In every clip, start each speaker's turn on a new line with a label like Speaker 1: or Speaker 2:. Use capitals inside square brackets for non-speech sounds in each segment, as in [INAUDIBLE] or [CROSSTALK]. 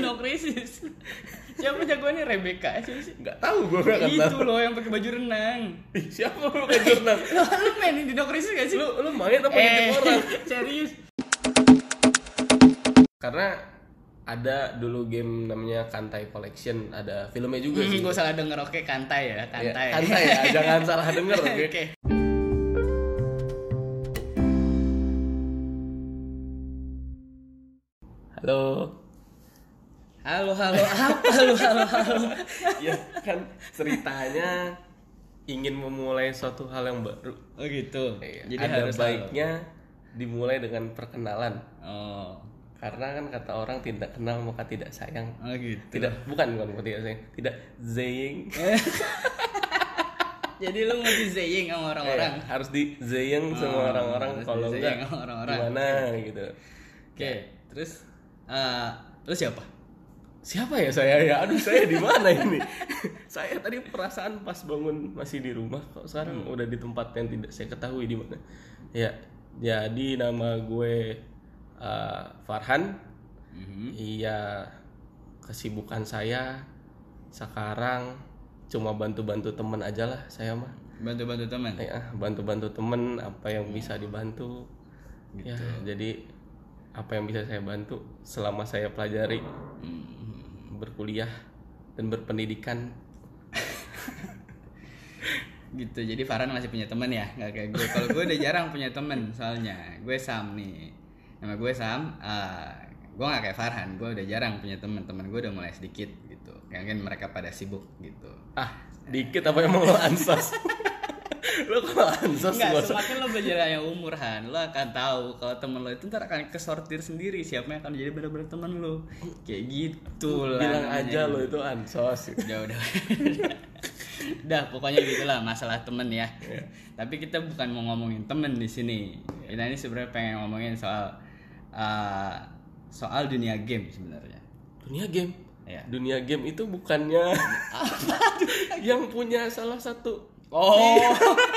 Speaker 1: Yesus. Siapa jagoannya Rebecca Yesus?
Speaker 2: Nggak tahu gue nggak akan
Speaker 1: Itu
Speaker 2: tahu.
Speaker 1: loh yang pakai baju renang.
Speaker 2: Ih, Siapa lu kayak jurnal?
Speaker 1: [LAUGHS] Lo lu mainin di Krisis gak sih? Eh,
Speaker 2: Lu lu main apa ngintip [LAUGHS] orang?
Speaker 1: serius.
Speaker 2: Karena ada dulu game namanya Kantai Collection, ada filmnya juga
Speaker 1: Hmm,
Speaker 2: sih.
Speaker 1: gue salah denger oke kantai ya,
Speaker 2: Ya,
Speaker 1: kantai.
Speaker 2: kantai ya, jangan salah denger. oke?
Speaker 1: [LAUGHS] Oke.
Speaker 2: Halo.
Speaker 1: Halo halo apa lu halo
Speaker 2: [LAUGHS]
Speaker 1: halo.
Speaker 2: Ya kan ceritanya ingin memulai suatu hal yang baru.
Speaker 1: Oh gitu.
Speaker 2: Jadi Iya, ada baiknya dimulai dengan perkenalan.
Speaker 1: Oh.
Speaker 2: Karena kan kata orang tidak kenal maka tidak sayang.
Speaker 1: Oh gitu.
Speaker 2: Tidak, bukan bukan bukan tidak sayang. Tidak zaying.
Speaker 1: Jadi lu mau dizeying sama orang-orang.
Speaker 2: Eh, [LAUGHS] harus di zaying
Speaker 1: Oh,
Speaker 2: sama orang-orang
Speaker 1: harus
Speaker 2: kalau
Speaker 1: di-zaying
Speaker 2: enggak
Speaker 1: sama orang-orang.
Speaker 2: gimana gitu.
Speaker 1: Oke, terus eh lu siapa?
Speaker 2: Siapa ya saya ya? Aduh, saya di mana ini? [LAUGHS] saya tadi perasaan pas bangun masih di rumah kok sekarang
Speaker 1: Hmm.
Speaker 2: udah di tempat yang tidak saya ketahui di mana. Ya, jadi nama gue eh, Farhan.
Speaker 1: Hmm.
Speaker 2: Iya, kesibukan saya sekarang cuma bantu-bantu temen aja lah saya mah.
Speaker 1: Bantu-bantu teman.
Speaker 2: Ya, bantu-bantu temen apa yang bisa dibantu. Ya, jadi apa yang bisa saya bantu selama saya pelajari Mhm. berkuliah dan berpendidikan.
Speaker 1: Gitu. Jadi Farhan masih punya teman ya, nggak kayak gue. Kalau gue udah jarang punya teman soalnya. Gue Sam nih. Nama gue Sam. eh gue nggak kayak Farhan. Gue udah jarang punya teman. Teman gue udah mulai sedikit gitu. Mungkin mereka pada sibuk gitu.
Speaker 2: Ah, dikit apa emang lo ansos? [LAUGHS] lo kalau ansos
Speaker 1: Enggak,
Speaker 2: gak usah.
Speaker 1: semakin lo berjalannya umur Han, lo akan tahu kalau temen lo itu ntar akan kesortir sendiri siapa yang akan jadi benar-benar temen lo. Kayak gitu lah.
Speaker 2: Bilang
Speaker 1: namanya.
Speaker 2: aja gitu. lo itu ansos.
Speaker 1: Udah, udah. [LAUGHS] Udah, pokoknya gitulah masalah temen ya.
Speaker 2: Iya.
Speaker 1: Tapi kita bukan mau ngomongin temen di sini. Kita ini sebenarnya pengen ngomongin soal eh, soal dunia game sebenarnya.
Speaker 2: Dunia game.
Speaker 1: Iya.
Speaker 2: Dunia game itu [LAUGHS] bukannya yang punya salah satu
Speaker 1: Oh, [LAUGHS]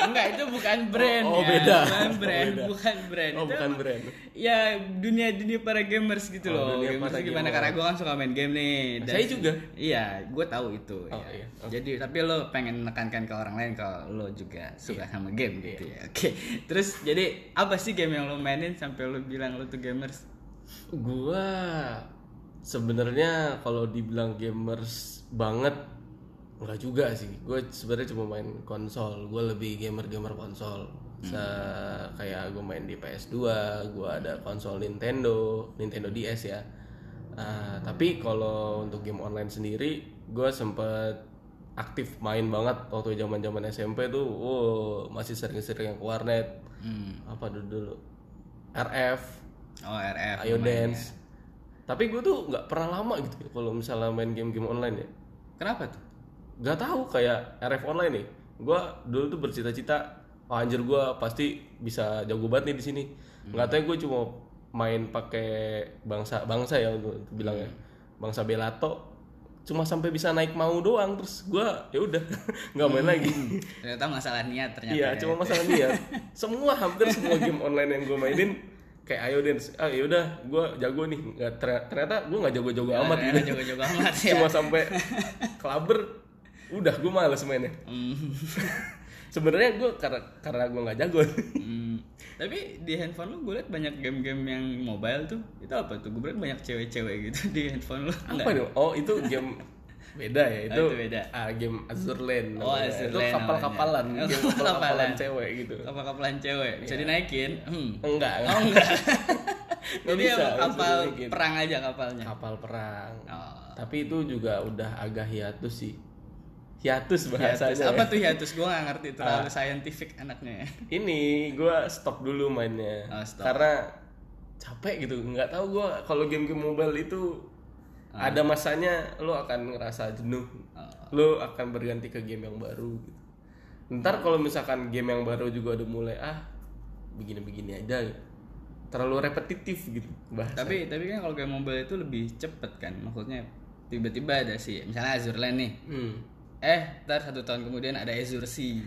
Speaker 1: enggak itu bukan brand
Speaker 2: Oh, oh,
Speaker 1: ya.
Speaker 2: beda.
Speaker 1: Bukan
Speaker 2: Oh,
Speaker 1: brand,
Speaker 2: beda.
Speaker 1: bukan brand.
Speaker 2: Oh,
Speaker 1: Itu
Speaker 2: bukan
Speaker 1: emang-
Speaker 2: brand.
Speaker 1: Ya, dunia-dunia para gamers gitu
Speaker 2: Oh,
Speaker 1: loh.
Speaker 2: dunia
Speaker 1: Gamers
Speaker 2: para
Speaker 1: itu gimana
Speaker 2: gamer.
Speaker 1: karena gue kan suka main game nih.
Speaker 2: Saya juga.
Speaker 1: Iya, gue tahu itu.
Speaker 2: Oh,
Speaker 1: ya.
Speaker 2: iya.
Speaker 1: Jadi tapi lo pengen menekankan ke orang lain kalau lo juga suka
Speaker 2: Iya.
Speaker 1: sama game gitu ya. Oke. Terus jadi apa sih game yang lo mainin sampai lo bilang lo tuh gamers?
Speaker 2: Gua sebenarnya kalau dibilang gamers banget nggak juga sih. Gue sebenarnya cuma main konsol. Gue lebih gamer-gamer konsol. Se- kayak gue main di PS2, gue ada konsol Nintendo, Nintendo DS ya. Ah, tapi kalau untuk game online sendiri, gue sempet aktif main banget waktu zaman zaman SMP tuh, wow, masih sering-sering yang ke warnet.
Speaker 1: Hmm.
Speaker 2: Apa dulu dulu? RF,
Speaker 1: Oh, RF.
Speaker 2: Ayo
Speaker 1: lumayan
Speaker 2: dance.
Speaker 1: ya.
Speaker 2: Tapi gue tuh nggak pernah lama gitu ya kalau misalnya main game-game online ya.
Speaker 1: Kenapa tuh?
Speaker 2: Gak tahu kayak RF online nih. Gue dulu tuh bercita-cita, oh, anjir gue pasti bisa jago banget nih di sini. Nggak tahu gue cuma main pakai bangsa bangsa ya gua bilangnya bangsa belato cuma sampai bisa naik mau doang terus gue ya udah [LAUGHS] nggak main lagi
Speaker 1: Hmm, Ternyata masalah niat ternyata.
Speaker 2: Iya,
Speaker 1: ya.
Speaker 2: cuma masalah niat. Semua hampir semua game online yang gue mainin kayak ayo dance. Ah, yaudah, gue jago nih. Nggak, ternyata- ternyata gue nggak jago-jago
Speaker 1: Nah,
Speaker 2: amat
Speaker 1: [LAUGHS] ternyata
Speaker 2: gitu.
Speaker 1: jago-jago amat ya.
Speaker 2: Cuma sampai klaber udah gue males mainnya.
Speaker 1: Hmm.
Speaker 2: Sebenarnya gue karena karena gue nggak jago.
Speaker 1: Hmm, tapi di handphone lu gue liat banyak game-game yang mobile tuh itu apa tuh gue liat banyak cewek-cewek gitu di handphone lu
Speaker 2: Apa nih? Oh, itu game beda ya itu,
Speaker 1: Oh, itu beda.
Speaker 2: ah, game Azur Lane
Speaker 1: Oh,
Speaker 2: namanya.
Speaker 1: Azur
Speaker 2: itu
Speaker 1: Lane
Speaker 2: kapal-kapalan
Speaker 1: namanya. Oh,
Speaker 2: game kapal-kapalan
Speaker 1: Kapal-kapalan.
Speaker 2: cewek gitu
Speaker 1: kapal kapalan cewek
Speaker 2: Iya.
Speaker 1: bisa dinaikin hmm.
Speaker 2: enggak
Speaker 1: oh enggak
Speaker 2: Nggak
Speaker 1: jadi
Speaker 2: bisa,
Speaker 1: apa
Speaker 2: nggak bisa
Speaker 1: kapal
Speaker 2: dinaikin.
Speaker 1: perang aja kapalnya
Speaker 2: kapal perang
Speaker 1: oh.
Speaker 2: tapi itu juga udah agak hiatus sih hiatus
Speaker 1: hiatus Oh,
Speaker 2: bahasanya
Speaker 1: iya, apa
Speaker 2: ya.
Speaker 1: tuh hiatus gue gak ngerti terlalu scientific anaknya ya
Speaker 2: ini gua stop dulu mainnya
Speaker 1: Oh, stop.
Speaker 2: karena capek gitu nggak tahu gua kalau game-game mobile itu
Speaker 1: Ah.
Speaker 2: ada masanya lo akan ngerasa jenuh
Speaker 1: Oh.
Speaker 2: lo akan berganti ke game yang baru gitu. ntar kalau misalkan game yang baru juga udah mulai ah begini-begini aja gitu. terlalu repetitif gitu bahasa
Speaker 1: tapi tapi kan kalau game mobile itu lebih cepet kan maksudnya tiba-tiba ada sih misalnya Azure Lane nih
Speaker 2: Hmm.
Speaker 1: eh ntar satu tahun kemudian ada Azure Sea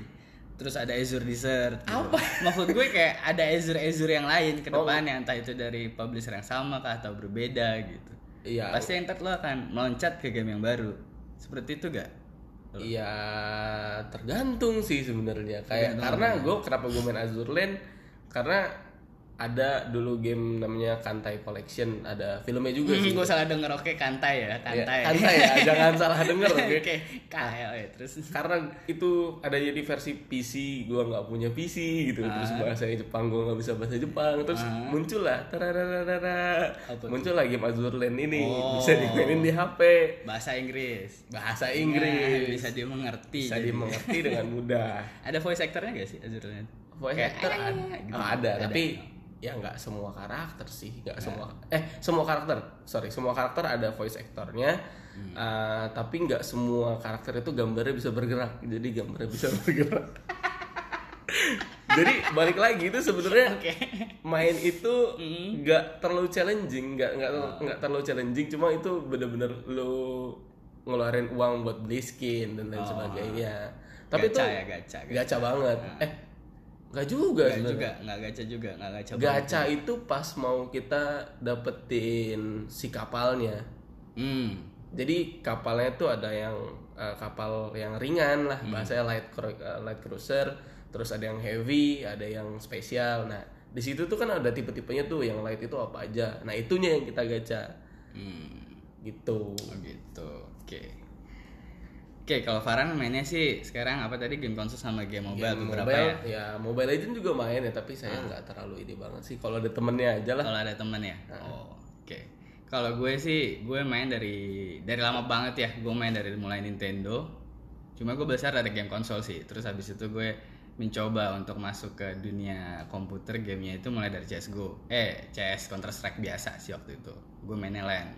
Speaker 1: terus ada Azure Desert apa maksud gue kayak
Speaker 2: Oh.
Speaker 1: ada Azure Azure yang lain ke depannya entah itu dari publisher yang sama kah atau berbeda gitu
Speaker 2: Iya.
Speaker 1: pasti yang ntar lo akan meloncat ke game yang baru seperti itu gak
Speaker 2: Iya tergantung sih sebenarnya kayak karena gue kenapa gue main Azur Lane karena ada dulu game namanya Kantai Collection ada filmnya juga sih
Speaker 1: gue salah denger oke kantai ya
Speaker 2: Ya,
Speaker 1: Hmm, kantai
Speaker 2: Kantai ya jangan salah denger oke?
Speaker 1: [LAUGHS] oke KL ya terus
Speaker 2: karena itu ada jadi versi PC gue nggak punya PC
Speaker 1: Ah.
Speaker 2: gitu terus bahasa Jepang gue nggak bisa bahasa Jepang terus muncul lah tarararara, muncul lah game Azur Lane ini
Speaker 1: Oh.
Speaker 2: bisa dimainin di HP
Speaker 1: bahasa Inggris
Speaker 2: bahasa
Speaker 1: Nah,
Speaker 2: Inggris
Speaker 1: bisa dia mengerti
Speaker 2: bisa
Speaker 1: jadi.
Speaker 2: dimengerti dengan mudah
Speaker 1: ada voice actornya gak sih Azur Lane?
Speaker 2: voice
Speaker 1: Kayak,
Speaker 2: actor ada,
Speaker 1: "Ah," gitu.
Speaker 2: Ah, ada, tapi ya nggak semua karakter sih
Speaker 1: Iya.
Speaker 2: nggak semua eh semua karakter sorry semua karakter ada voice actornya
Speaker 1: Hmm.
Speaker 2: Ah, tapi nggak semua karakter itu gambarnya bisa bergerak jadi gambarnya bisa [LAUGHS] bergerak jadi balik lagi itu sebenarnya main itu
Speaker 1: Hmm.
Speaker 2: nggak terlalu challenging nggak nggak terlalu- nggak terlalu challenging cuma itu bener-bener lo ngeluarin uang buat beli skin
Speaker 1: Oh.
Speaker 2: dan lain sebagainya tapi
Speaker 1: gacha
Speaker 2: itu
Speaker 1: ya gacha gacha,
Speaker 2: gacha banget eh nggak
Speaker 1: Ya.
Speaker 2: juga
Speaker 1: Nggak
Speaker 2: sebenarnya
Speaker 1: juga nggak gacha juga nggak gacha banget.
Speaker 2: gacha itu pas mau kita dapetin si kapalnya
Speaker 1: hmm
Speaker 2: jadi kapalnya itu ada yang eh, kapal yang ringan lah
Speaker 1: Hmm.
Speaker 2: bahasanya light cru- eh, light cruiser terus ada yang heavy ada yang spesial nah di situ tuh kan ada tipe-tipenya tuh yang light itu apa aja nah itunya yang kita gacha
Speaker 1: hmm
Speaker 2: gitu
Speaker 1: oh gitu oke oke kalau Farhan mainnya sih sekarang apa tadi game konsol sama game mobile beberapa
Speaker 2: mobile
Speaker 1: ya Ah.
Speaker 2: ya mobile legend juga main ya tapi saya nggak terlalu ini banget sih kalau ada temennya aja lah
Speaker 1: kalau ada temen ya oh oke kalau gue sih gue main dari dari lama banget ya gue main dari mulai Nintendo cuma gue besar dari game konsol sih terus habis itu gue mencoba untuk masuk ke dunia komputer gamenya itu mulai dari CSGO eh CS Counter Strike biasa sih waktu itu gue mainnya LAN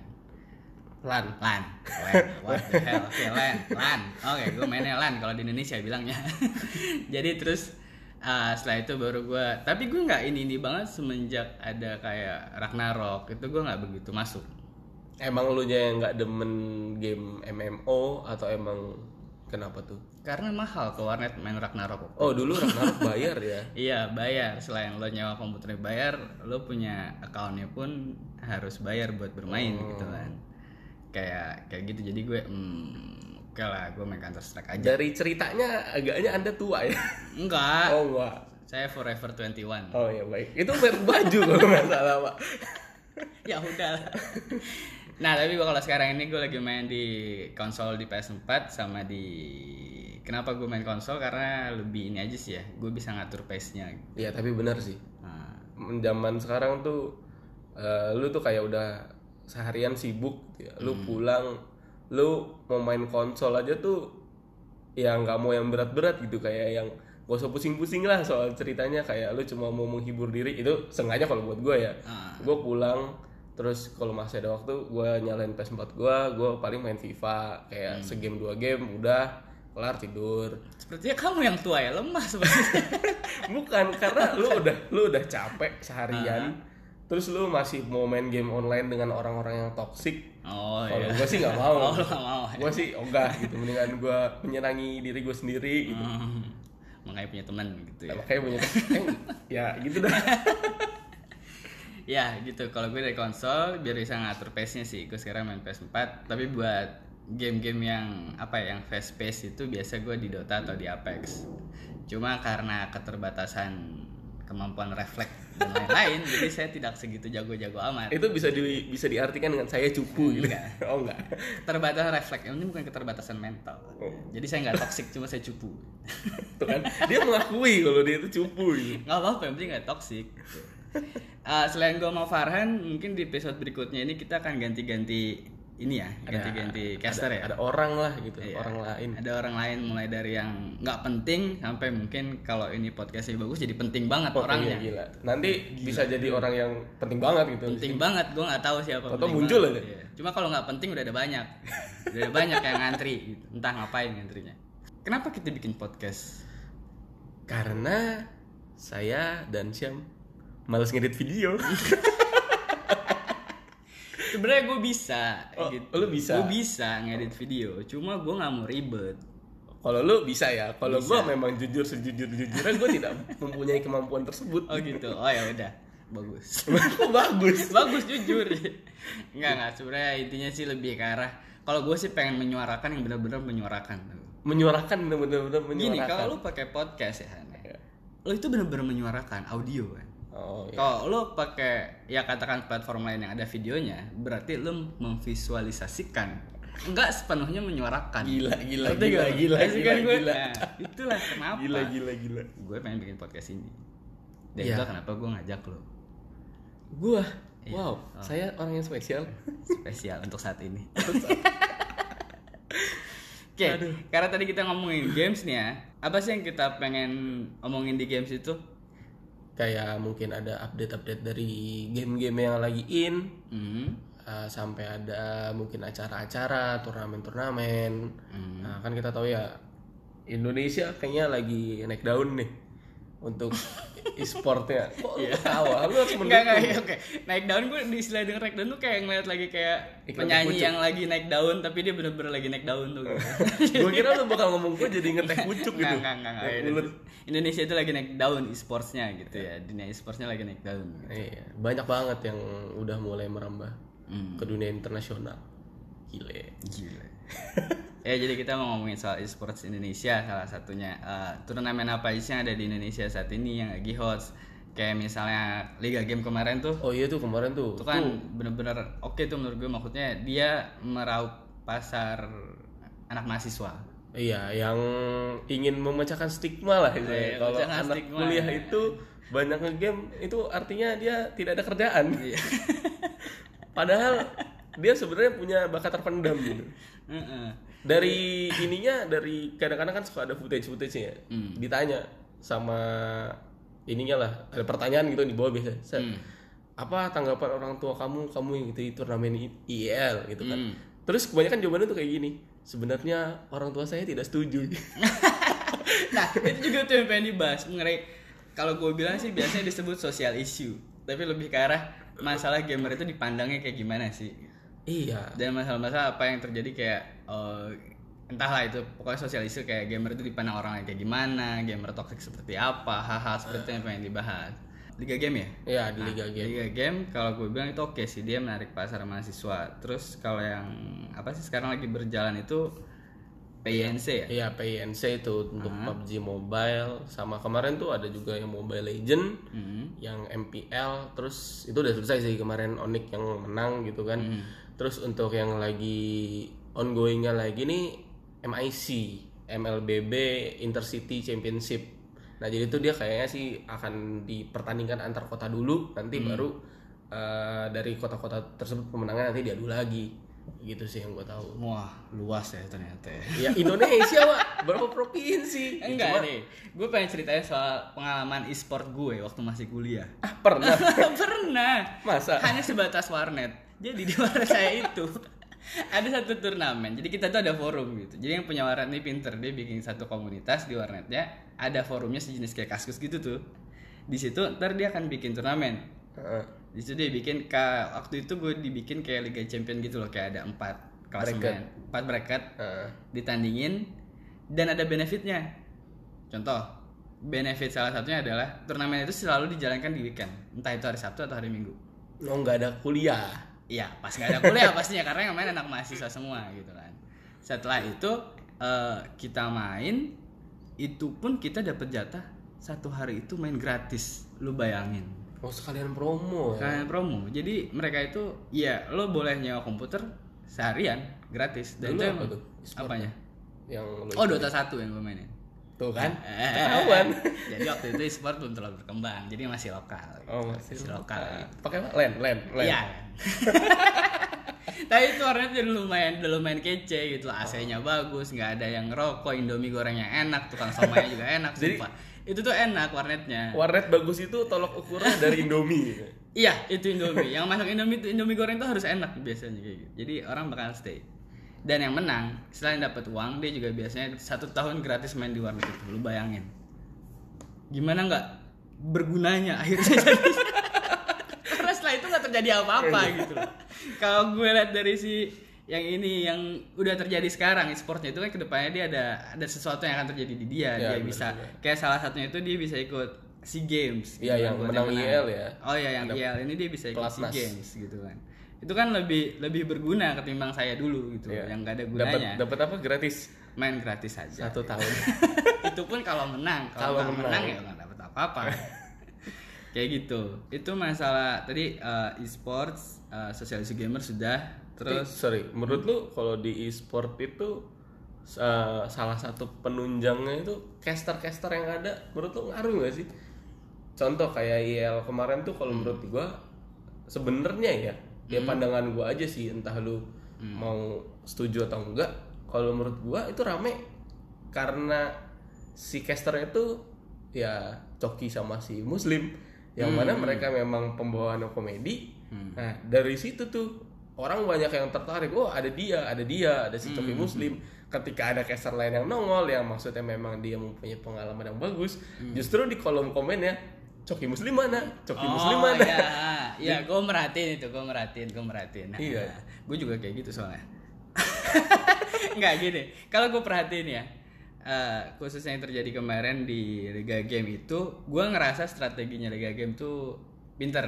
Speaker 2: lan
Speaker 1: LAN LAN what the hell oke LAN LAN oke gue mainnya LAN kalau di Indonesia bilangnya [LAUGHS] jadi terus ah, setelah itu baru gue tapi gue nggak ini ini banget semenjak ada kayak Ragnarok itu gue nggak begitu masuk
Speaker 2: Emang lu nya yang nggak demen game MMO atau emang kenapa tuh?
Speaker 1: karena mahal ke warnet main Ragnarok
Speaker 2: Oh dulu [LAUGHS] Ragnarok bayar ya?
Speaker 1: Iya bayar selain lo nyewa komputer bayar lo punya accountnya pun harus bayar buat bermain gitu kan kayak kayak gitu jadi gue hmm, oke lah gue main Counter Strike aja
Speaker 2: Dari ceritanya agaknya anda tua ya?
Speaker 1: enggak
Speaker 2: Oh enggak.
Speaker 1: Saya Forever 21.
Speaker 2: Oh ya baik. Itu merek baju kalau nggak salah pak.
Speaker 1: ya udah. lah. nah, tapi gua kalau sekarang ini gue lagi main di konsol di PS4 sama di Kenapa gue main konsol? Karena lebih ini aja sih ya. Gue bisa ngatur pace-nya.
Speaker 2: Iya tapi benar sih.
Speaker 1: Nah,
Speaker 2: Zaman sekarang tuh eh, lu tuh kayak udah seharian sibuk, gitu ya. lu pulang, lu mau main konsol aja tuh ya nggak mau yang berat-berat gitu kayak yang gak usah pusing-pusing lah soal ceritanya kayak lu cuma mau menghibur diri itu sengaja kalau buat gue ya
Speaker 1: Ah.
Speaker 2: gue pulang terus kalau masih ada waktu gue nyalain PS4 gue gue paling main FIFA kayak segame dua game udah kelar tidur
Speaker 1: sepertinya kamu yang tua ya, lemah sepertinya.
Speaker 2: bukan karena lu udah lu udah capek seharian terus lu masih mau main game online dengan orang-orang yang toksik
Speaker 1: oh
Speaker 2: [LAUGHS] kalau
Speaker 1: iya.
Speaker 2: gue sih nggak mau
Speaker 1: Oh, lu nggak mau.
Speaker 2: gue sih ogah gitu mendingan gue menyenangi diri gue sendiri gitu
Speaker 1: Hmm, Makanya punya teman gitu ya.
Speaker 2: makanya punya eh, ya gitu
Speaker 1: [LAUGHS]
Speaker 2: dah
Speaker 1: ya gitu kalau gue dari konsol biar bisa ngatur pace nya sih gue sekarang main PS4 tapi buat game-game yang apa ya yang fast pace itu biasa gue di Dota atau di Apex cuma karena keterbatasan kemampuan refleks dan lain-lain [LAUGHS] jadi saya tidak segitu jago-jago amat
Speaker 2: itu bisa di bisa diartikan dengan saya cupu gitu [LAUGHS] oh enggak
Speaker 1: keterbatasan refleks ini bukan keterbatasan mental jadi saya nggak toxic cuma saya cupu
Speaker 2: tuh kan dia mengakui kalau dia itu cupu gitu
Speaker 1: nggak apa-apa yang penting nggak toxic Eh, selain gue sama Farhan mungkin di episode berikutnya ini kita akan ganti-ganti ini ya ganti-ganti caster ya
Speaker 2: ada orang lah gitu
Speaker 1: Iya.
Speaker 2: orang lain
Speaker 1: ada orang lain mulai dari yang nggak penting sampai mungkin kalau ini podcastnya bagus jadi penting banget
Speaker 2: Iya,
Speaker 1: orangnya Iya,
Speaker 2: gila nanti bisa jadi orang yang penting banget gitu
Speaker 1: penting banget gue nggak tahu siapa
Speaker 2: Atau
Speaker 1: penting
Speaker 2: muncul
Speaker 1: banget.
Speaker 2: aja.
Speaker 1: Iya. cuma kalau nggak penting udah ada banyak udah ada banyak yang ngantri gitu. entah ngapain ngantrinya kenapa kita bikin podcast
Speaker 2: karena saya dan Syam males ngedit video
Speaker 1: sebenarnya gue bisa
Speaker 2: Oh, lu bisa?
Speaker 1: gue bisa ngedit video cuma gue nggak mau ribet
Speaker 2: [LAUGHS] kalau lu bisa ya [LAUGHS] kalau gua memang jujur sejujur jujurnya gua tidak mempunyai kemampuan tersebut
Speaker 1: oh gitu oh ya udah bagus
Speaker 2: [LAUGHS] Kok bagus
Speaker 1: bagus jujur nggak nggak sebenarnya intinya sih lebih ke arah kalau gue sih pengen menyuarakan yang benar-benar menyuarakan
Speaker 2: menyuarakan bener-bener
Speaker 1: gini
Speaker 2: menyuarakan
Speaker 1: kalau lu pakai podcast ya Han, ya, lu itu benar-benar menyuarakan audio kan
Speaker 2: oh iya
Speaker 1: kalau lu pakai ya katakan platform lain yang ada videonya berarti lu memvisualisasikan nggak sepenuhnya menyuarakan
Speaker 2: gila gila
Speaker 1: Ngerti
Speaker 2: gila
Speaker 1: nggak?
Speaker 2: gila
Speaker 1: Ngerti
Speaker 2: gila
Speaker 1: kan gue?
Speaker 2: gila
Speaker 1: Nah, itulah kenapa
Speaker 2: gila gila gila
Speaker 1: gue pengen bikin podcast ini dan
Speaker 2: Iya.
Speaker 1: itulah kenapa gue ngajak lo
Speaker 2: gua wow saya orang yang spesial
Speaker 1: spesial untuk saat
Speaker 2: [LAUGHS]
Speaker 1: ini Oke, karena tadi kita ngomongin games nih ya. Apa sih yang kita pengen omongin di games itu?
Speaker 2: kayak mungkin ada update-update dari game-game yang lagi in
Speaker 1: Hmm.
Speaker 2: uh, sampai ada mungkin acara-acara turnamen-turnamen
Speaker 1: Hmm.
Speaker 2: Nah, kan kita tahu ya Indonesia kayaknya lagi naik daun nih untuk e-sportnya kok lu ketawa lu harus
Speaker 1: Enggak, enggak,
Speaker 2: mendukung
Speaker 1: ya, oke. Naik daun gue di istilah denger naik daun tuh kayak ngeliat lagi kayak
Speaker 2: Iklan
Speaker 1: penyanyi
Speaker 2: berpucuk.
Speaker 1: yang lagi naik daun tapi dia bener-bener lagi naik daun tuh. gitu.
Speaker 2: gue kira lu bakal ngomong gue jadi ngetek pucuk gitu
Speaker 1: Enggak, enggak, enggak, enggak.
Speaker 2: Yang ulet.
Speaker 1: Indonesia itu lagi naik daun e-sportsnya gitu ya. Dunia e-sportsnya lagi naik daun. gitu.
Speaker 2: Iya, banyak banget yang udah mulai merambah
Speaker 1: Hmm.
Speaker 2: ke dunia internasional gile
Speaker 1: Gila. ya jadi kita mau ngomongin soal esports Indonesia salah satunya Eh, turnamen apa aja sih yang ada di Indonesia saat ini yang lagi hot kayak misalnya Liga Game kemarin tuh
Speaker 2: oh iya tuh kemarin tuh
Speaker 1: itu kan bener-bener oke tuh menurut gue maksudnya dia meraup pasar anak mahasiswa
Speaker 2: Iya, yang ingin memecahkan stigma lah itu.
Speaker 1: Iya,
Speaker 2: ya. Kalau
Speaker 1: memecahkan
Speaker 2: anak
Speaker 1: stigma.
Speaker 2: kuliah itu banyak ngegame itu artinya dia tidak ada kerjaan.
Speaker 1: Iya.
Speaker 2: Padahal dia sebenarnya punya bakat terpendam gitu.
Speaker 1: Heeh.
Speaker 2: Dari ininya dari kadang-kadang kan suka ada footage-footage ya. Ditanya sama ininya lah, ada pertanyaan gitu di bawah biasa. Set, Apa tanggapan orang tua kamu kamu yang gitu, itu turnamen I- IEL gitu kan.
Speaker 1: Hmm.
Speaker 2: Terus kebanyakan jawabannya tuh kayak gini. Sebenarnya orang tua saya tidak setuju. [LAUGHS]
Speaker 1: nah itu juga tuh yang pengen dibahas mengenai kalau gue bilang sih biasanya disebut social issue tapi lebih ke arah masalah gamer itu dipandangnya kayak gimana sih
Speaker 2: Iya.
Speaker 1: dan masalah-masalah apa yang terjadi kayak eh, entahlah itu pokoknya sosial issue kayak gamer itu dipandang orang lain kayak gimana gamer toxic seperti apa hal-hal seperti itu yang pengen dibahas liga game ya
Speaker 2: Iya di Liga Game.
Speaker 1: liga game kalau gue bilang itu oke sih dia menarik pasar mahasiswa terus kalau yang apa sih sekarang lagi berjalan itu PINC ya
Speaker 2: Iya PNC itu untuk PUBG Mobile sama kemarin tuh ada juga yang Mobile Legend,
Speaker 1: Hmm.
Speaker 2: yang MPL, terus itu udah selesai sih kemarin Onyx yang menang gitu kan.
Speaker 1: Hmm.
Speaker 2: Terus untuk yang lagi ongoingnya lagi nih MIC, MLBB Intercity Championship. Nah jadi itu dia kayaknya sih akan dipertandingkan antar kota dulu,
Speaker 1: Hmm.
Speaker 2: nanti baru eh, dari kota-kota tersebut pemenangnya nanti diadu lagi. Gitu sih yang gue tahu.
Speaker 1: wah luas ya ternyata ya
Speaker 2: Ya Indonesia Wak, berapa provinsi?
Speaker 1: Eh, enggak nih gue pengen ceritain soal pengalaman e-sport gue waktu masih kuliah
Speaker 2: Ah, pernah. [LAUGHS]
Speaker 1: pernah
Speaker 2: Masa?
Speaker 1: hanya sebatas warnet jadi di warnet saya itu ada satu turnamen jadi kita tuh ada forum gitu jadi yang punya warnet ini pinter dia bikin satu komunitas di warnetnya ada forumnya sejenis kayak kaskus gitu tuh di situ ntar dia akan bikin turnamen
Speaker 2: Heeh.
Speaker 1: di situ dia bikin ka- waktu itu gue dibikin kayak Liga Champion gitu loh kayak ada empat kelas empat bracket
Speaker 2: Heeh.
Speaker 1: ditandingin dan ada benefitnya contoh benefit salah satunya adalah turnamen itu selalu dijalankan di weekend entah itu hari Sabtu atau hari Minggu
Speaker 2: Oh, nggak ada kuliah.
Speaker 1: Iya, pas nggak ada kuliah [LAUGHS] pastinya karena yang main anak mahasiswa semua gitu kan. Setelah itu eh, kita main, itu pun kita dapat jatah satu hari itu main gratis. Lu bayangin.
Speaker 2: Oh, sekalian promo. ya.
Speaker 1: Kayak promo. Jadi mereka itu, ya lo boleh nyewa komputer seharian gratis. Dan
Speaker 2: Dulu
Speaker 1: itu
Speaker 2: apa
Speaker 1: yang-
Speaker 2: tuh? E-sport
Speaker 1: apanya?
Speaker 2: Yang lu
Speaker 1: Oh Dota 1 yang gue mainin.
Speaker 2: tuh kan?
Speaker 1: Eh,
Speaker 2: Ketahuan.
Speaker 1: [LAUGHS] Jadi waktu itu e-sport belum terlalu berkembang, jadi masih lokal.
Speaker 2: Oh, masih
Speaker 1: lokal.
Speaker 2: lokal. Pakai apa? Len, len, len.
Speaker 1: Iya. Tapi itu warnanya jadi lumayan, udah lumayan kece gitu. AC-nya bagus, nggak ada yang rokok, Indomie gorengnya enak, tukang somanya juga enak,
Speaker 2: Jadi-
Speaker 1: sumpah. Itu tuh enak warnetnya.
Speaker 2: Warnet bagus itu tolok ukurnya dari Indomie. [LAUGHS] gitu.
Speaker 1: Iya, itu Indomie. yang masuk Indomie itu Indomie goreng tuh harus enak biasanya kayak gitu. Jadi orang bakal stay. Dan yang menang, selain dapat uang, dia juga biasanya satu tahun gratis main di warnet itu. Lu bayangin. Gimana nggak bergunanya akhirnya jadi [LAUGHS] karena setelah itu nggak terjadi apa-apa
Speaker 2: Iya,
Speaker 1: gitu loh. Kalau gue lihat dari si yang ini yang udah terjadi sekarang e-sportnya itu kan kedepannya dia ada ada sesuatu yang akan terjadi di dia dia
Speaker 2: Ya, bener
Speaker 1: bisa kayak salah satunya itu dia bisa ikut SEA Games
Speaker 2: Iya,
Speaker 1: kan,
Speaker 2: yang
Speaker 1: buat
Speaker 2: menang IL ya.
Speaker 1: Oh iya yang IL ini dia bisa ikut SEA
Speaker 2: pelatnas.
Speaker 1: Games gitu kan. Itu kan lebih lebih berguna ketimbang saya dulu gitu
Speaker 2: Iya.
Speaker 1: yang gak ada
Speaker 2: Dapat
Speaker 1: gunanya.
Speaker 2: dapat apa gratis?
Speaker 1: Main gratis aja.
Speaker 2: Satu tahun.
Speaker 1: [LAUGHS] itu pun kalau menang kalau
Speaker 2: Kalau
Speaker 1: nggak menang,
Speaker 2: menang.
Speaker 1: ya nggak dapat
Speaker 2: [LAUGHS]
Speaker 1: apa-apa kayak gitu itu masalah tadi eh, e-sports eh, sosialisasi gamer sudah
Speaker 2: Tapi,
Speaker 1: terus
Speaker 2: sorry, menurut lu kalau di e-sport itu eh, salah satu penunjangnya itu caster-caster yang ada menurut lu ngaruh nggak sih? Contoh kayak IL kemarin tuh kalau menurut gua sebenarnya ya, ya pandangan gua aja sih entah lu mau setuju atau enggak. Kalau menurut gua itu rame karena si casternya itu ya coki sama si muslim yang mana mereka memang pembawaan komedi Nah, dari situ tuh orang banyak yang tertarik. Oh, ada dia, ada dia, ada si Coki Muslim. Ketika ada caster lain yang nongol yang maksudnya memang dia mempunyai pengalaman yang bagus, justru di kolom komen ya Coki Muslim mana? Coki Muslim
Speaker 1: oh
Speaker 2: mana?
Speaker 1: iya [LAUGHS] iya gue merhatiin itu gue merhatiin gue merhatiin Ah.
Speaker 2: Iya.
Speaker 1: gue juga kayak gitu soalnya [LAUGHS] nggak gini kalau gue perhatiin ya eh, khususnya yang terjadi kemarin di Liga Game itu gue ngerasa strateginya Liga Game tuh pinter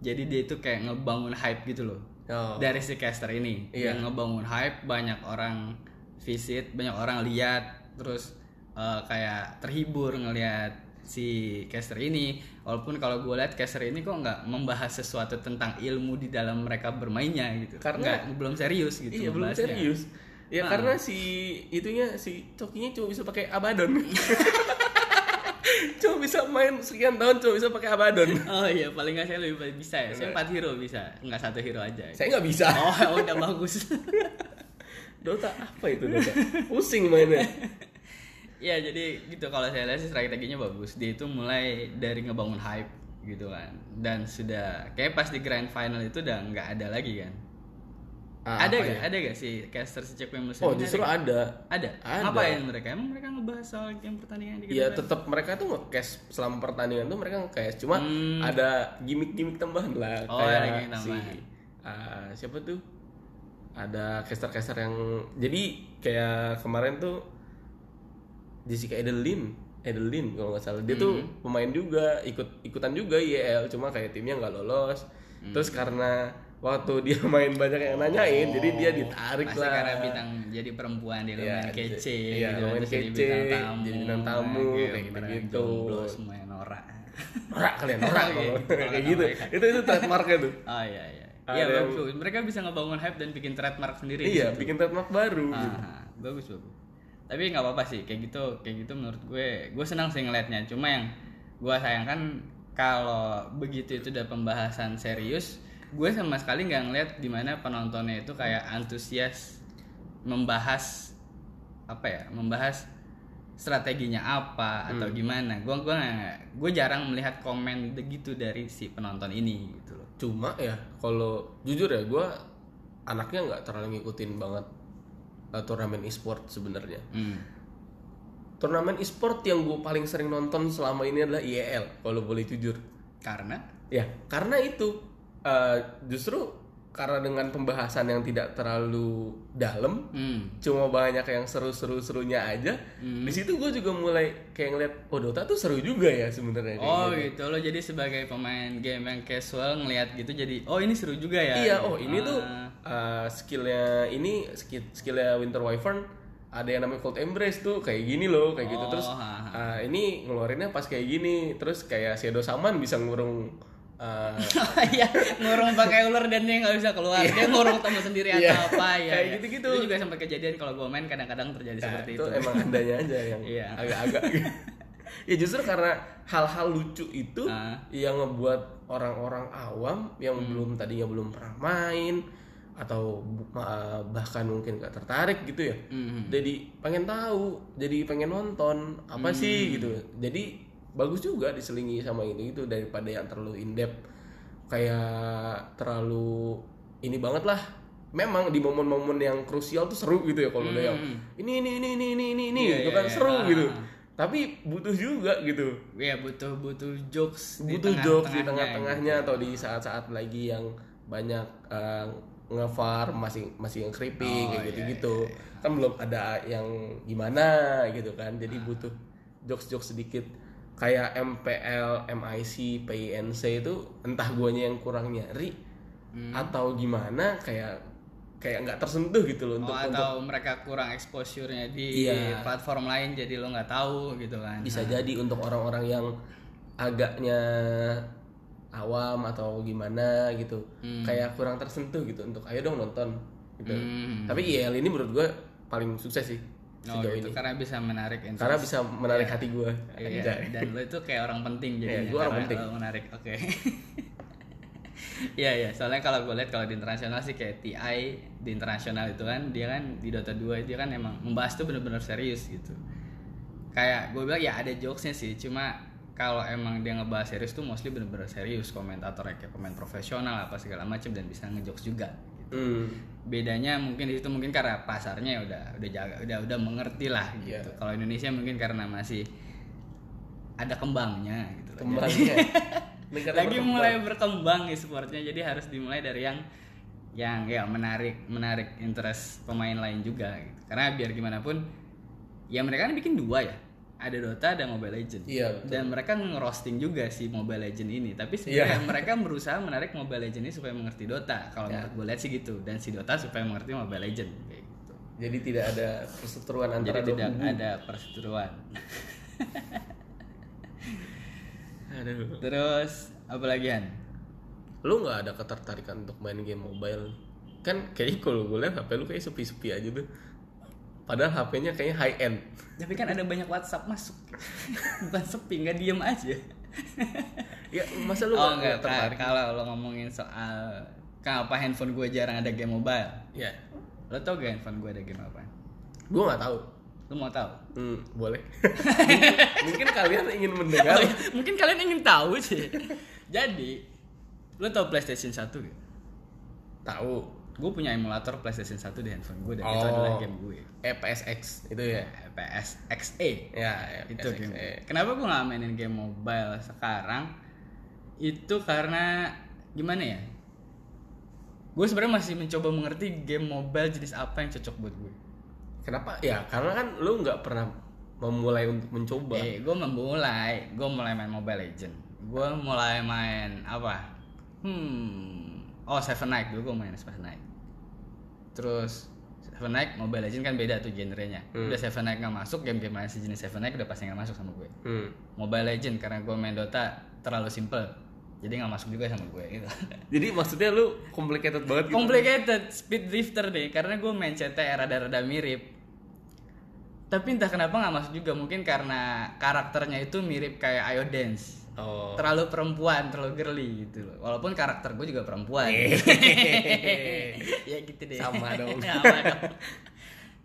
Speaker 1: jadi dia itu kayak ngebangun hype gitu loh
Speaker 2: Oh.
Speaker 1: dari si caster ini
Speaker 2: Iya.
Speaker 1: yang ngebangun hype banyak orang visit banyak orang lihat terus eh, kayak terhibur ngelihat si caster ini walaupun kalau gue lihat caster ini kok nggak membahas sesuatu tentang ilmu di dalam mereka bermainnya gitu
Speaker 2: Karena-
Speaker 1: Nggak, belum serius gitu
Speaker 2: Iya, belum
Speaker 1: membahasnya.
Speaker 2: serius. Ya
Speaker 1: Ah.
Speaker 2: karena si itunya si Cokinya cuma bisa pakai [LAUGHS] Abaddon. cuma bisa main sekian tahun cuma bisa pakai Abaddon.
Speaker 1: oh iya paling nggak saya lebih bisa ya saya empat hero bisa nggak satu hero aja
Speaker 2: Iya. Saya nggak bisa.
Speaker 1: oh [LAUGHS] udah bagus
Speaker 2: Dota apa itu Dota? Pusing mainnya.
Speaker 1: Ya jadi gitu kalau saya lihat sih strateginya bagus. Dia itu mulai dari ngebangun hype gitu kan. Dan sudah kayak pas di grand final itu udah nggak ada lagi kan.
Speaker 2: Ah,
Speaker 1: ada
Speaker 2: apa
Speaker 1: gak?
Speaker 2: ya?
Speaker 1: Ada gak sih caster si Cek Muslim?
Speaker 2: Oh,
Speaker 1: ini
Speaker 2: justru
Speaker 1: ada. nggak?
Speaker 2: ada.
Speaker 1: Ada.
Speaker 2: Ada.
Speaker 1: Ngapain mereka? Emang mereka ngebahas soal game pertandingan di
Speaker 2: Ya
Speaker 1: grand final?
Speaker 2: tetap mereka tuh nge-cash selama pertandingan tuh mereka nge-cash cuma ada gimmick-gimmick tambahan lah
Speaker 1: Hmm. Oh, ada gimmick tambahan.
Speaker 2: si ah, siapa tuh ada caster-caster yang jadi kayak kemarin tuh Jessica Edelin Edelin kalau nggak salah dia tuh
Speaker 1: Hmm.
Speaker 2: pemain juga ikut ikutan juga IEL cuma kayak timnya nggak lolos
Speaker 1: Hmm.
Speaker 2: terus karena waktu [LAUGHS] dia main banyak yang nanyain jadi dia ditarik
Speaker 1: Oh, Pasti
Speaker 2: lah
Speaker 1: karena bintang jadi perempuan dia
Speaker 2: Iya,
Speaker 1: lumayan kece
Speaker 2: iya,
Speaker 1: gitu.
Speaker 2: lumayan
Speaker 1: Terus jadi
Speaker 2: kece,
Speaker 1: bintang tamu.
Speaker 2: jadi bintang tamu,
Speaker 1: Iya,
Speaker 2: kayak
Speaker 1: beneran
Speaker 2: gitu-gitu.
Speaker 1: jomblo semuanya norak. [LAUGHS]
Speaker 2: norak kalian norak
Speaker 1: Iya,
Speaker 2: kalau-
Speaker 1: gitu, kalau
Speaker 2: kayak
Speaker 1: kata
Speaker 2: gitu
Speaker 1: mereka.
Speaker 2: itu itu trademarknya tuh
Speaker 1: Oh iya iya.
Speaker 2: Ada
Speaker 1: Iya
Speaker 2: yang-
Speaker 1: bagus. Mereka bisa ngebangun hype dan bikin trademark sendiri. di
Speaker 2: iya
Speaker 1: situ.
Speaker 2: bikin trademark baru gitu.
Speaker 1: Ah, bagus bagus. Tapi nggak apa-apa sih kayak gitu kayak gitu menurut gue gue senang sih ngelihatnya. Cuma yang gue sayangkan kalau begitu itu udah pembahasan serius, gue sama sekali nggak ngeliat dimana penontonnya itu kayak antusias membahas apa ya membahas strateginya apa atau gimana gue gue gue jarang melihat komen begitu dari si penonton ini gitu loh
Speaker 2: cuma ya kalau jujur ya gue anaknya nggak terlalu ngikutin banget eh, turnamen e-sport sebenarnya
Speaker 1: Hmm.
Speaker 2: turnamen e-sport yang gue paling sering nonton selama ini adalah IEL kalau boleh jujur
Speaker 1: karena
Speaker 2: ya karena itu eh, justru karena dengan pembahasan yang tidak terlalu dalam
Speaker 1: hmm.
Speaker 2: cuma banyak yang seru-seru-serunya aja di situ gue juga mulai kayak ngeliat oh Dota tuh seru juga ya sebenarnya kayak
Speaker 1: Oh gitu lo jadi sebagai pemain game yang casual ngelihat gitu jadi oh ini seru juga ya. [LAUGHS]
Speaker 2: Iya, oh ini
Speaker 1: Ah,
Speaker 2: tuh uh, skillnya ini skill skillnya Winter Wyvern ada yang namanya Cold Embrace tuh kayak gini loh kayak gitu terus
Speaker 1: Oh, ha,
Speaker 2: uh, ini ngeluarinnya pas kayak gini terus kayak Shadow Saman bisa ngurung uh,
Speaker 1: Iya, ngurung pakai ular dan dia nggak bisa keluar. Dia ngurung temu sendiri atau
Speaker 2: Iya,
Speaker 1: apa ya.
Speaker 2: kayak
Speaker 1: ya.
Speaker 2: gitu-gitu.
Speaker 1: Itu juga sempat kejadian kalau gue main kadang-kadang terjadi [LAUGHS]
Speaker 2: nah,
Speaker 1: seperti
Speaker 2: itu,
Speaker 1: itu.
Speaker 2: emang andanya aja yang
Speaker 1: [LAUGHS] Iya.
Speaker 2: agak-agak ya justru karena hal-hal lucu itu
Speaker 1: Ah. Hmm.
Speaker 2: yang ngebuat orang-orang awam yang belum tadinya belum pernah main atau bu- ma- bahkan mungkin gak tertarik gitu ya
Speaker 1: Mhm.
Speaker 2: jadi pengen tahu jadi pengen nonton apa
Speaker 1: Hmm.
Speaker 2: sih gitu jadi bagus juga diselingi sama itu gitu daripada yang terlalu in depth kayak terlalu ini banget lah memang di momen-momen yang krusial tuh seru gitu ya kalau udah yang ini ini ini ini ini ini
Speaker 1: Hmm.
Speaker 2: ini
Speaker 1: Iya,
Speaker 2: gitu
Speaker 1: iya,
Speaker 2: kan
Speaker 1: iya.
Speaker 2: seru
Speaker 1: Ah.
Speaker 2: gitu tapi butuh juga gitu
Speaker 1: Iya butuh butuh jokes di
Speaker 2: butuh jokes
Speaker 1: tengah-tengahnya
Speaker 2: di
Speaker 1: gitu.
Speaker 2: tengah-tengahnya atau di saat-saat lagi yang banyak eh, nge-farm masih masih yang
Speaker 1: Oh,
Speaker 2: creeping
Speaker 1: iya,
Speaker 2: kayak gitu-gitu.
Speaker 1: Ah.
Speaker 2: Kan belum ada yang gimana gitu kan. Jadi butuh jokes-jokes sedikit kayak MPL, MIC, PINC itu entah guanya yang kurang nyari
Speaker 1: Mhm. Hmm.
Speaker 2: atau gimana kayak kayak nggak tersentuh gitu loh
Speaker 1: Oh,
Speaker 2: untuk untuk-
Speaker 1: atau mereka kurang exposure-nya di
Speaker 2: Iya.
Speaker 1: platform lain jadi lo nggak tahu gitu kan.
Speaker 2: bisa jadi untuk orang-orang yang agaknya awam atau gimana gitu
Speaker 1: mhm.
Speaker 2: kayak kurang tersentuh gitu untuk ayo dong nonton gitu
Speaker 1: Hmm.
Speaker 2: tapi IEL ini menurut gue paling sukses sih
Speaker 1: Oh,
Speaker 2: sejauh
Speaker 1: gitu.
Speaker 2: ini
Speaker 1: karena bisa menarik interest.
Speaker 2: karena bisa menarik hati gue
Speaker 1: Iya, dan lo itu kayak orang penting jadinya
Speaker 2: Iya, gua orang
Speaker 1: karena
Speaker 2: penting.
Speaker 1: lo menarik. Oke. [LAUGHS] Iya iya, soalnya kalau gue lihat kalau di internasional sih kayak TI di internasional itu kan dia kan di Dota 2 dia kan emang membahas tuh bener-bener serius gitu. Kayak gue bilang ya ada jokesnya sih, cuma kalau emang dia ngebahas serius tuh mostly bener-bener serius komentatornya kayak pemain profesional apa segala macam dan bisa ngejokes juga.
Speaker 2: Hmm,
Speaker 1: Bedanya mungkin di situ mungkin karena pasarnya ya udah udah jaga udah udah mengerti lah gitu.
Speaker 2: Iya.
Speaker 1: Kalau Indonesia mungkin karena masih ada kembangnya gitu loh. [LAUGHS]
Speaker 2: kembangnya
Speaker 1: Jadi,
Speaker 2: negara
Speaker 1: lagi
Speaker 2: berkembang.
Speaker 1: mulai berkembang e-sportnya jadi harus dimulai dari yang yang ya menarik menarik interest pemain lain juga gitu. Karena biar gimana pun ya mereka kan bikin dua ya. Ada Dota ada Mobile Legends.
Speaker 2: Iya, betul.
Speaker 1: Dan mereka ngerosting juga si Mobile Legends ini, tapi sebenarnya mereka berusaha menarik Mobile Legends ini supaya mengerti Dota. Kalau menurut gue lihat sih gitu dan si Dota supaya mengerti Mobile Legends. Kayak gitu.
Speaker 2: jadi tidak ada perseteruan antara
Speaker 1: Jadi
Speaker 2: dua
Speaker 1: tidak
Speaker 2: kubu.
Speaker 1: ada perseteruan.
Speaker 2: Aduh.
Speaker 1: Terus apa lagi Han?
Speaker 2: lu nggak ada ketertarikan untuk main game mobile kan kayaknya kalau gue liat HP lu kayak sepi-sepi aja tuh padahal HP-nya kayaknya high end
Speaker 1: Tapi kan ada banyak WhatsApp masuk. [LAUGHS] Bukan sepi, nggak diem aja.
Speaker 2: ya masa lu
Speaker 1: oh
Speaker 2: nggak
Speaker 1: enggak, Kak.
Speaker 2: tertarik
Speaker 1: kalau lo ngomongin soal kenapa handphone gue jarang ada game mobile.
Speaker 2: ya
Speaker 1: Lo tau gak handphone gue ada game apa?
Speaker 2: gue nggak tahu
Speaker 1: Lo mau tahu?
Speaker 2: hmm, boleh mungkin, [LAUGHS] mungkin kalian ingin
Speaker 1: Oh,
Speaker 2: mendengar
Speaker 1: Mungkin kalian ingin tahu sih. Jadi, lo tau PlayStation 1 gak?
Speaker 2: tahu
Speaker 1: Gue punya emulator PlayStation 1 di handphone gue dan itu
Speaker 2: Oh.
Speaker 1: adalah game gue.
Speaker 2: EPSX itu ya
Speaker 1: PSXE.
Speaker 2: ya
Speaker 1: itu
Speaker 2: EPSX.
Speaker 1: game. Kenapa gue nggak mainin game mobile sekarang? Itu karena gimana ya? Gue sebenarnya masih mencoba mengerti game mobile jenis apa yang cocok buat gue.
Speaker 2: kenapa ya karena kan lu nggak pernah memulai untuk mencoba
Speaker 1: Eh, gue memulai, gue mulai main Mobile Legend. Gue mulai main apa? Hmm, oh Seven Night dulu gue main Seven Night. Terus Seven Night Mobile Legend kan beda tuh genrenya.
Speaker 2: Hmm.
Speaker 1: Udah Seven Night nggak masuk, game-game lain sejenis Seven Night udah pasti nggak masuk sama gue.
Speaker 2: hmm.
Speaker 1: Mobile Legend karena gue main Dota terlalu simple jadi nggak masuk juga sama gue gitu.
Speaker 2: jadi maksudnya lu complicated banget gitu
Speaker 1: Complicated speed drifter deh karena gue main CTR rada-rada mirip. Tapi entah kenapa nggak masuk juga mungkin karena karakternya itu mirip kayak Ayo Dance.
Speaker 2: oh [LAUGHS]
Speaker 1: Terlalu perempuan, terlalu girly gitu loh. Walaupun karakter gue juga perempuan. [LAUGHS] ya gitu deh.
Speaker 2: Iya. Sama dong.
Speaker 1: [LAUGHS] Sama dong.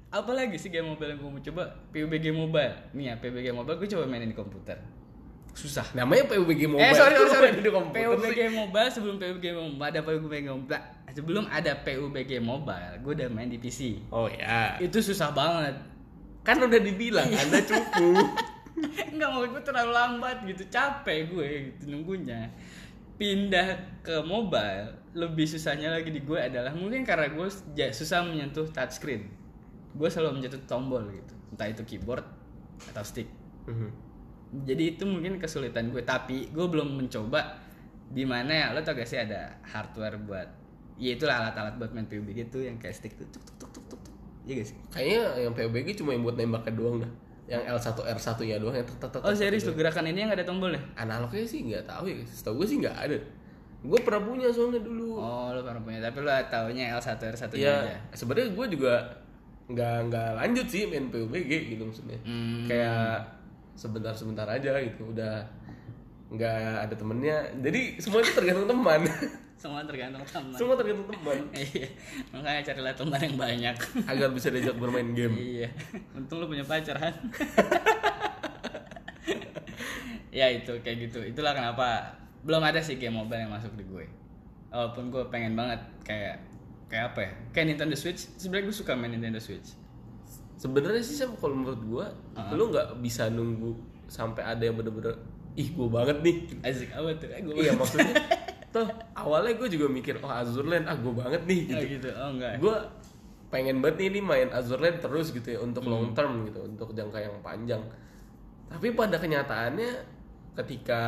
Speaker 1: Apalagi sih game mobile yang gue mau coba? PUBG Mobile. Nih ya, PUBG Mobile gue coba mainin di komputer. Susah.
Speaker 2: namanya PUBG mobile
Speaker 1: Eh sorry
Speaker 2: Lu
Speaker 1: sorry, sorry.
Speaker 2: main [LAUGHS] di komputer sih.
Speaker 1: PUBG Mobile sebelum PUBG Mobile ada PUBG Mobile sebelum ada PUBG Mobile gue udah main di PC
Speaker 2: Oh ya.
Speaker 1: itu susah banget [LAUGHS]
Speaker 2: Kan udah dibilang
Speaker 1: Iya.
Speaker 2: Anda cukup.
Speaker 1: nggak mau gue terlalu lambat gitu capek gue gitu nunggunya pindah ke mobile lebih susahnya lagi di gue adalah mungkin karena gue ja- susah menyentuh touchscreen gue selalu menyentuh tombol gitu entah itu keyboard atau stick
Speaker 2: Hmm.
Speaker 1: jadi itu mungkin kesulitan gue tapi gue belum mencoba di mana ya lo tau gak sih ada hardware buat ya itulah alat-alat buat main PUBG gitu yang kayak stick tuh tuk tuk tuk tuk tuk tuk iya gak sih
Speaker 2: Kayaknya yang PUBG cuma yang buat nembaknya doang dah. Yang L1 R1 ya doang yang tet- tet- tet-
Speaker 1: oh
Speaker 2: tet-
Speaker 1: serius lo gerakan ini yang gak ada ya? tombolnya
Speaker 2: Analognya sih nggak tahu ya. Setahu gue sih nggak ada. Gue pernah punya soalnya dulu.
Speaker 1: oh lo baru punya tapi lo taunya L1 R1 nya aja
Speaker 2: Iya. Sebenarnya gue juga nggak nggak lanjut sih main PUBG gitu maksudnya.
Speaker 1: Hmm.
Speaker 2: Kayak sebentar-sebentar aja gitu udah nggak ada temennya jadi semua itu tergantung
Speaker 1: [LAUGHS]
Speaker 2: teman
Speaker 1: semua tergantung teman
Speaker 2: semua tergantung teman
Speaker 1: [LAUGHS] iya makanya carilah teman yang banyak
Speaker 2: agar bisa diajak bermain game
Speaker 1: iya [LAUGHS] untung lo punya pacar Han [LAUGHS] ya itu kayak gitu itulah kenapa belum ada sih game mobile yang masuk di gue walaupun gue pengen banget kayak kayak apa ya kayak Nintendo Switch sebenarnya gue suka main Nintendo Switch
Speaker 2: sebenarnya sih Sam, kalau menurut gua
Speaker 1: Ah.
Speaker 2: lu nggak bisa nunggu sampai ada yang bener-bener ih gua banget
Speaker 1: [LAUGHS]
Speaker 2: nih
Speaker 1: Asik apa tuh eh, gue
Speaker 2: iya maksudnya tuh awalnya gua juga mikir oh Azur Land ah gua banget nih
Speaker 1: gitu.
Speaker 2: gitu
Speaker 1: gitu [LAUGHS] oh enggak
Speaker 2: gua pengen banget nih ini main Azur Land
Speaker 1: Hmm.
Speaker 2: terus gitu ya untuk long term gitu untuk jangka yang panjang tapi pada kenyataannya ketika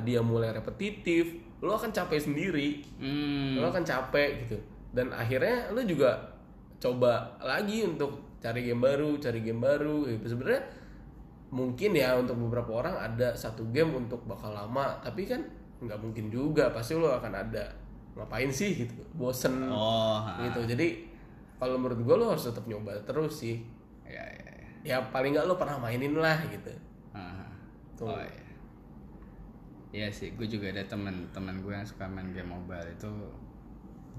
Speaker 2: dia mulai repetitif lo akan capek sendiri
Speaker 1: Hmm.
Speaker 2: lo akan capek gitu dan akhirnya lo juga coba lagi untuk cari game baru cari game baru gitu sebenarnya mungkin ya untuk beberapa orang ada satu game untuk bakal lama tapi kan nggak mungkin juga pasti lo akan ada ngapain sih gitu bosen
Speaker 1: Oh. ha.
Speaker 2: gitu jadi kalau menurut gue lo harus tetap nyoba terus sih
Speaker 1: Ya, ya, ya.
Speaker 2: ya paling nggak lo pernah mainin lah gitu
Speaker 1: Ah.
Speaker 2: Tuh.
Speaker 1: Oh iya. Iya sih, gue juga ada teman-teman gue yang suka main game mobile itu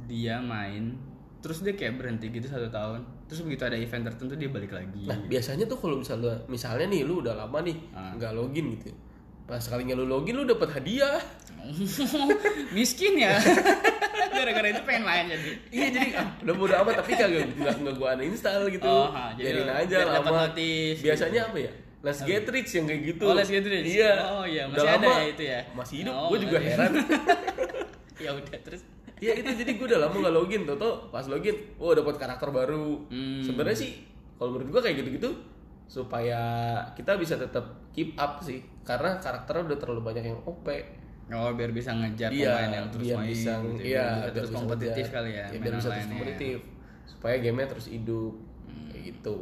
Speaker 1: dia main terus dia kayak berhenti gitu satu tahun terus begitu ada event tertentu dia balik lagi
Speaker 2: Nah biasanya tuh kalau misalnya misalnya nih lu udah lama nih
Speaker 1: Ah.
Speaker 2: nggak login gitu, pas sekalinya lu login lu dapat hadiah.
Speaker 1: [LAUGHS]
Speaker 2: [LAUGHS]
Speaker 1: miskin ya [LAUGHS] gara-gara itu pengen main jadi
Speaker 2: Iya jadi ah, udah mudah amat tapi kagak nggak nggak gua uninstall gitu,
Speaker 1: Oh, ha, jadi
Speaker 2: biarin
Speaker 1: lu
Speaker 2: aja
Speaker 1: biar dapat
Speaker 2: lama.
Speaker 1: notif, gitu.
Speaker 2: Biasanya apa ya? Let's get rich yang kayak gitu.
Speaker 1: Oh, let's get rich.
Speaker 2: Iya.
Speaker 1: Oh, iya,
Speaker 2: Udah
Speaker 1: masih ada
Speaker 2: lama,
Speaker 1: ya itu ya?
Speaker 2: Masih hidup,
Speaker 1: Oh,
Speaker 2: gua juga [LAUGHS]
Speaker 1: masih.
Speaker 2: heran.
Speaker 1: ya udah terus
Speaker 2: Iya itu jadi gua udah lama nggak login, toto pas login, oh dapat karakter baru.
Speaker 1: Hmm.
Speaker 2: Sebenarnya sih kalau menurut gua kayak gitu-gitu supaya kita bisa tetap keep up sih karena karakternya udah terlalu banyak yang OP.
Speaker 1: oh biar bisa ngejar
Speaker 2: Iya,
Speaker 1: pemain yang terus
Speaker 2: biar
Speaker 1: main
Speaker 2: bisa,
Speaker 1: gitu, biar
Speaker 2: iya,
Speaker 1: bisa
Speaker 2: biar
Speaker 1: terus
Speaker 2: bisa
Speaker 1: kompetitif
Speaker 2: ngejar.
Speaker 1: kali ya
Speaker 2: Iya, biar
Speaker 1: mainan
Speaker 2: bisa terus
Speaker 1: lainnya.
Speaker 2: kompetitif supaya gamenya terus hidup
Speaker 1: Hmm.
Speaker 2: kayak gitu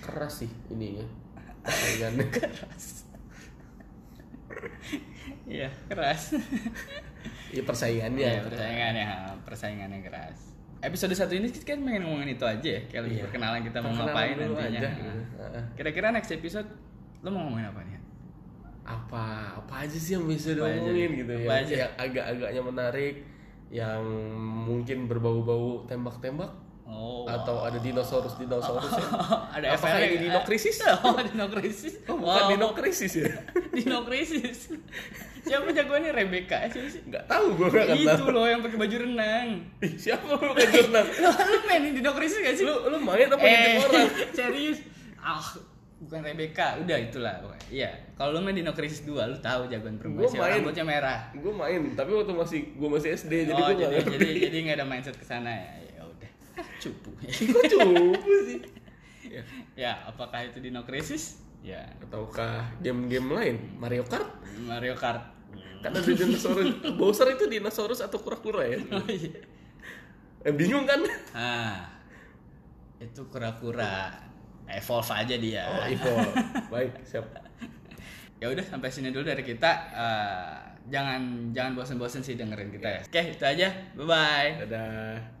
Speaker 2: keras sih ininya persaingannya
Speaker 1: [LAUGHS]
Speaker 2: keras
Speaker 1: iya keras
Speaker 2: ya persaingannya
Speaker 1: Iya persaingannya persaingannya keras episode satu ini kita kan pengen ngomongin itu aja ya kayak lebih perkenalan kita mau
Speaker 2: Iya. Perkenalan
Speaker 1: ngapain
Speaker 2: dulu
Speaker 1: nantinya
Speaker 2: aja,
Speaker 1: Nah,
Speaker 2: gitu. Heeh.
Speaker 1: kira-kira next episode lo mau ngomongin apa nih
Speaker 2: apa apa aja sih yang bisa
Speaker 1: Apa aja
Speaker 2: diomongin
Speaker 1: nih?
Speaker 2: gitu
Speaker 1: Apa
Speaker 2: ya
Speaker 1: aja?
Speaker 2: yang agak-agaknya menarik yang mungkin berbau-bau tembak-tembak
Speaker 1: oh
Speaker 2: atau ada ya? dinosaurus dinosaurus
Speaker 1: [LAUGHS] ada
Speaker 2: apakah
Speaker 1: efeknya.
Speaker 2: ini dino krisis
Speaker 1: [LAUGHS] oh dino krisis
Speaker 2: oh, bukan dino krisis ya
Speaker 1: dino krisis
Speaker 2: [LAUGHS]
Speaker 1: siapa jagoannya Rebecca eh, siapa sih
Speaker 2: nggak kan tahu gue nggak akan
Speaker 1: itu loh yang pakai baju renang [LAUGHS]
Speaker 2: Ih, siapa lu ke jurnal?
Speaker 1: lo lu mainin dino krisis gak sih
Speaker 2: lu lu main apa ngintip
Speaker 1: eh,
Speaker 2: orang?
Speaker 1: [LAUGHS] serius ah bukan Rebecca udah itulah pokoknya. iya kalau lu main Dino Crisis 2 lu tahu jagoan perempuan
Speaker 2: Gua
Speaker 1: siapa
Speaker 2: main.
Speaker 1: rambutnya merah
Speaker 2: Gue main, tapi waktu masih gue masih SD jadi
Speaker 1: oh
Speaker 2: gue
Speaker 1: jadi
Speaker 2: nggak ngerti.
Speaker 1: jadi
Speaker 2: [LAUGHS]
Speaker 1: jadi nggak ada mindset ke sana ya ya udah cupu
Speaker 2: Kok cupu sih? Ya.
Speaker 1: [LAUGHS] ya apakah itu Dino Crisis ya
Speaker 2: Ataukah game-game lain? Mario Kart?
Speaker 1: Mario Kart
Speaker 2: Kan ada dinosaurus.
Speaker 1: [LAUGHS]
Speaker 2: Bowser itu dinosaurus atau kura-kura ya?
Speaker 1: oh, iya.
Speaker 2: Eh, bingung kan?
Speaker 1: ah itu kura-kura evolve aja dia
Speaker 2: Oh, Ivo. Baik, siap.
Speaker 1: ya udah sampai sini dulu dari kita Eh, jangan jangan bosen-bosen sih dengerin kita ya oke itu aja bye bye
Speaker 2: Dadah.